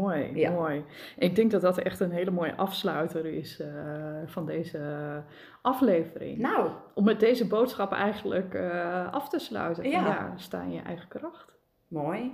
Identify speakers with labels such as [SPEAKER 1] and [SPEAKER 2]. [SPEAKER 1] mooi,
[SPEAKER 2] Ja.
[SPEAKER 1] mooi. Ik denk dat dat echt een hele mooie afsluiter is eh, van deze aflevering.
[SPEAKER 2] Nou,
[SPEAKER 1] Om met deze boodschap eigenlijk eh, af te sluiten.
[SPEAKER 2] Ja.
[SPEAKER 1] sta in je eigen kracht.
[SPEAKER 2] mooi.